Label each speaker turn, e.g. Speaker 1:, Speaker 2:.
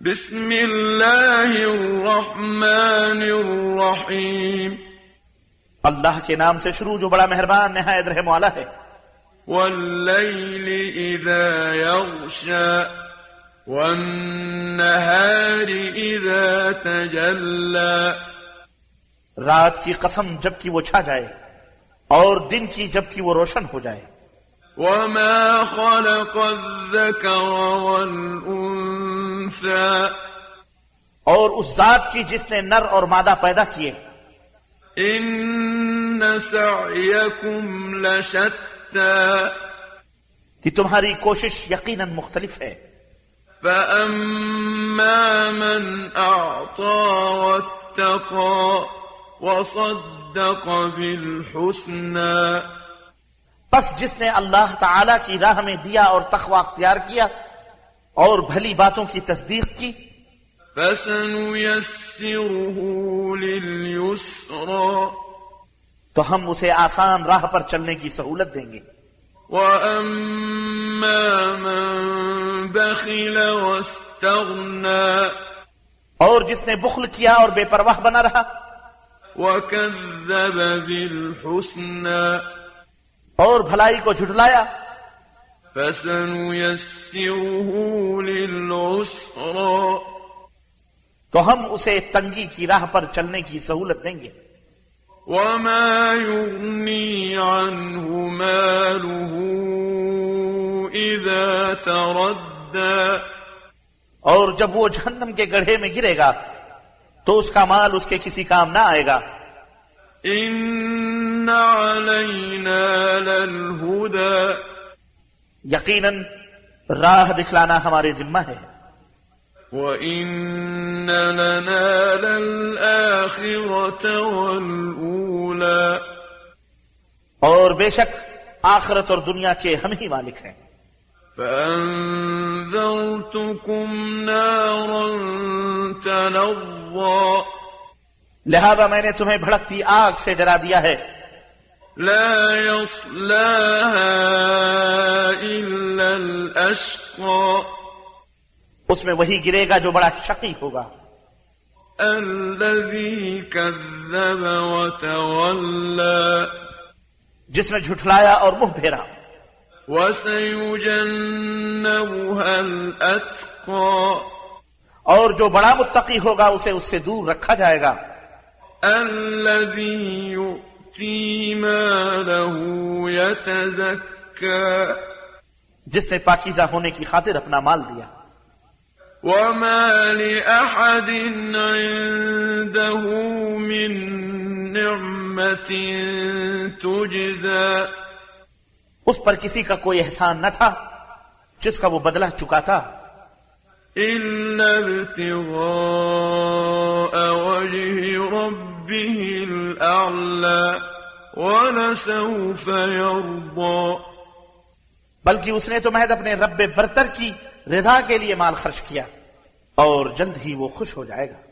Speaker 1: بسم الله الرحمن الرحيم
Speaker 2: अल्लाह के नाम से शुरू जो बड़ा मेहरबान नहायत रहम वाला है
Speaker 1: والليل إذا يغشى والنهار إذا تجلى
Speaker 2: रात की कसम जबकि वो छा जाए और दिन की जबकि वो रोशन हो जाए
Speaker 1: وما خلق الذكر والأنثى
Speaker 2: और उस जात की जिसने नर और मादा पैदा किए
Speaker 1: إن سعيكم لشتى
Speaker 2: कि तुम्हारी कोशिश यकीनन मुख्तलिफ है
Speaker 1: فأما من أعطى واتقى وصدق بالحسنى
Speaker 2: बस जिसने अल्लाह ताला की राह में दिया और तखवा अख्तियार किया और भली बातों की तस्दीक की
Speaker 1: فسنيسره لليسرى
Speaker 2: तो हम उसे आसान राह पर चलने की सहूलत देंगे
Speaker 1: وأما من بخل واستغنى
Speaker 2: और जिसने बुखल किया और बेपरवाह बना रहा
Speaker 1: وكذب بالحسنى
Speaker 2: और भलाई को झुटलाया
Speaker 1: فسنيسره للعسرى
Speaker 2: तो हम उसे तंगी की राह पर चलने की सहूलत देंगे
Speaker 1: وما يغني عنه ماله إذا تردى
Speaker 2: और जब वो जहन्नम के गढ़े में गिरेगा तो उसका माल उसके किसी काम ना आएगा
Speaker 1: إن علينا للهدى
Speaker 2: यकीनन राह दिखलाना हमारे जिम्मा है
Speaker 1: وإن لنا للآخرة والأولى
Speaker 2: और बेशक आखरत और दुनिया के हम ही मालिक हैं
Speaker 1: فأنذرتكم نارا تلظى
Speaker 2: लिहाजा मैंने तुम्हें भड़कती आग से डरा दिया है
Speaker 1: لا يصلاها إلا الأشقى
Speaker 2: उसमें वही गिरेगा जो बड़ा शकी होगा
Speaker 1: الذي كذب وتولى
Speaker 2: जिसने झुठलाया और मुंह फेरा
Speaker 1: وسيجنبها الأتقى
Speaker 2: और जो बड़ा मुत्तकी होगा उसे उससे दूर रखा जाएगा
Speaker 1: الذي يؤتي ماله يتزكى
Speaker 2: जिसने पाकिजा होने की खातिर अपना माल दिया
Speaker 1: وما لأحد عنده من نعمة تجزى
Speaker 2: उस पर किसी का कोई एहसान न था जिसका वो बदला चुकाता
Speaker 1: إلا ابتغاء وجه ربه الأعلى ولسوف يرضى
Speaker 2: बल्कि उसने तो महज अपने रब बरतर की रिधा के लिए माल खर्च किया और जल्द ही वो खुश हो जाएगा